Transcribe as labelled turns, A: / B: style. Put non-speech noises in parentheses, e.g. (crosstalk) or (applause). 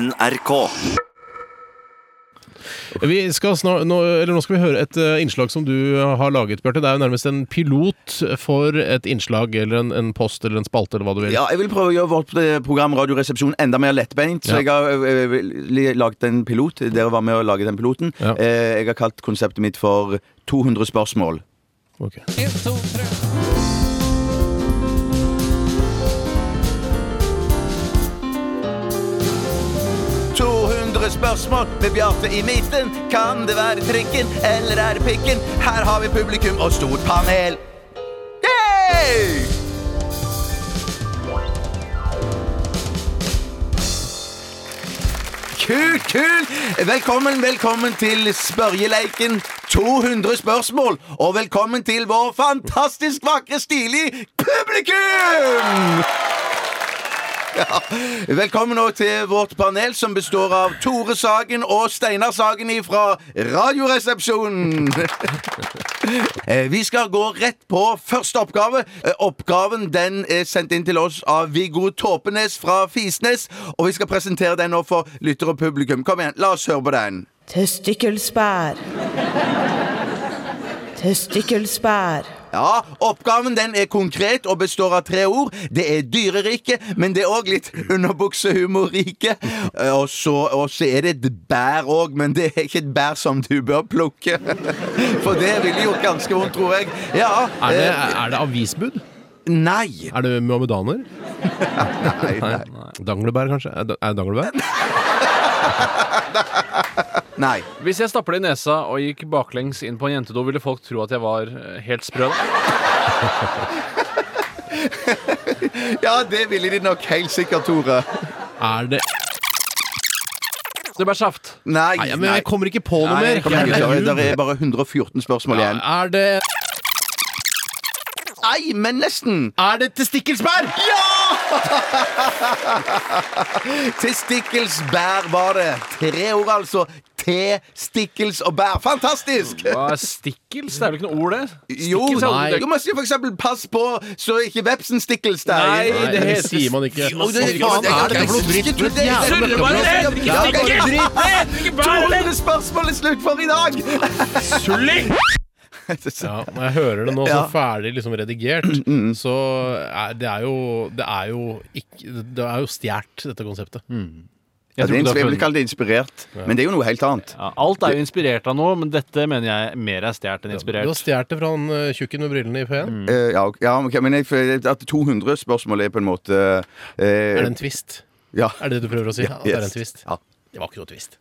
A: NRK.
B: Vi skal snart, nå, eller nå skal vi høre et eh, innslag som du har laget, Bjarte. Det er jo nærmest en pilot for et innslag eller en, en post eller en spalte eller hva du vil.
C: Ja, jeg vil prøve å gjøre vårt eh, program Radioresepsjon enda mer lettbeint. Så
B: Ja.
C: jeg har eh, li- laget en pilot. Dere var med å lage den piloten.
B: Ja.
C: Eh, Jeg har kalt konseptet mitt for 200 spørsmål.
B: Ok.
C: spørsmål med Bjarte i midten. Kan det være trikken, eller er det pikken? Her har vi publikum og stort panel. Yay! Kult, kult! Velkommen, velkommen til spørjeleiken 200 spørsmål. Og velkommen til vår fantastisk vakre, stilige publikum! Ja. (laughs) Velkommen nå til vårt panel som består av Tore Sagen og Steinar Sagen fra Radioresepsjonen. (laughs) Eh, Vi skal gå rett på første oppgave. Eh, Oppgaven den er sendt inn til oss av Viggo Tåpenes fra Fisnes. Og vi skal presentere den nå for lytter og publikum. Kom igjen, la oss høre på den.
D: Testikkelsbær. Testikkelsbær.
C: Ja, Oppgaven den er konkret og består av tre ord. Det er dyrerike, men det er òg litt underbuksehumorrike. Eh, Og så, og så er det et bær òg, men det er ikke et bær som du bør plukke. (laughs) For det ville gjort ganske vondt, tror jeg. Ja,
B: Er det,
C: eh,
B: er det avisbud?
C: Nei.
B: Er det muhammedaner?
C: Nei, nei.
B: Danglebær, kanskje? Er det er det danglebær?
C: nei.
E: Hvis jeg stappa det i nesa og gikk baklengs inn på en jentedo, ville folk tro at jeg var eh, helt sprø? da?
C: Ja, det ville de nok helt sikkert, Tore.
B: Er det
E: Det ble saft.
C: Nei.
B: Nei, men jeg kommer ikke på noe
C: Nei,
B: mer.
C: kom igjen,
B: Jeg er
C: gutter. Det
B: lun.
C: er bare 114 spørsmål
B: Ja,
C: igjen.
B: Er det
C: Nei, men nesten.
B: Er det testikkelsbær?
C: Testikkels bær var det. Tre ord, altså. Te, stikkels og bær. Fantastisk!
E: Hva er stikkels? Det er vel ikke noe ord, det?
C: Jo,
E: Stikkels er aldri-
C: jo, man sier for eksempel 'pass på, så ikke vepsen stikkels der'.
E: Nei,
B: Nei,
E: det
B: det
E: heter-
B: sier man ikke.
C: Jo, det-
B: Hva faen er dette for noe dritt?
C: Ikke tull, det er-
E: Surre bare, det heter ikke
C: Ja, det er
E: stikkels!
C: dritt.
E: Ikke bær det!
C: 200 spørsmål er slutt for i dag!
E: Tulling!
B: Ja, når jeg hører det nå, så
C: Ja. Mm,
B: ferdig liksom redigert, så er det er jo Det er jo, ikke- det er jo stjålet, dette konseptet.
C: Ja, det er inspi-
E: Jeg tror ikke du
C: jeg
E: har
C: vil
E: funnet
C: kalle det inspirert, men det er jo noe helt annet.
E: ja, Alt er jo inspirert av noe, men dette mener jeg mer er stjålet enn
B: Du har
E: inspirert.
B: stjålet det fra han eh, tjukken med brillene i P1.
C: Eh, ja, ok- ja, ok, men jeg, føler at 200 spørsmål er på en måte eh,
B: Er det en twist?
C: Ja.
B: Er det det du prøver å si? At det er en twist?
C: Ja.
B: Det var ikke noe twist.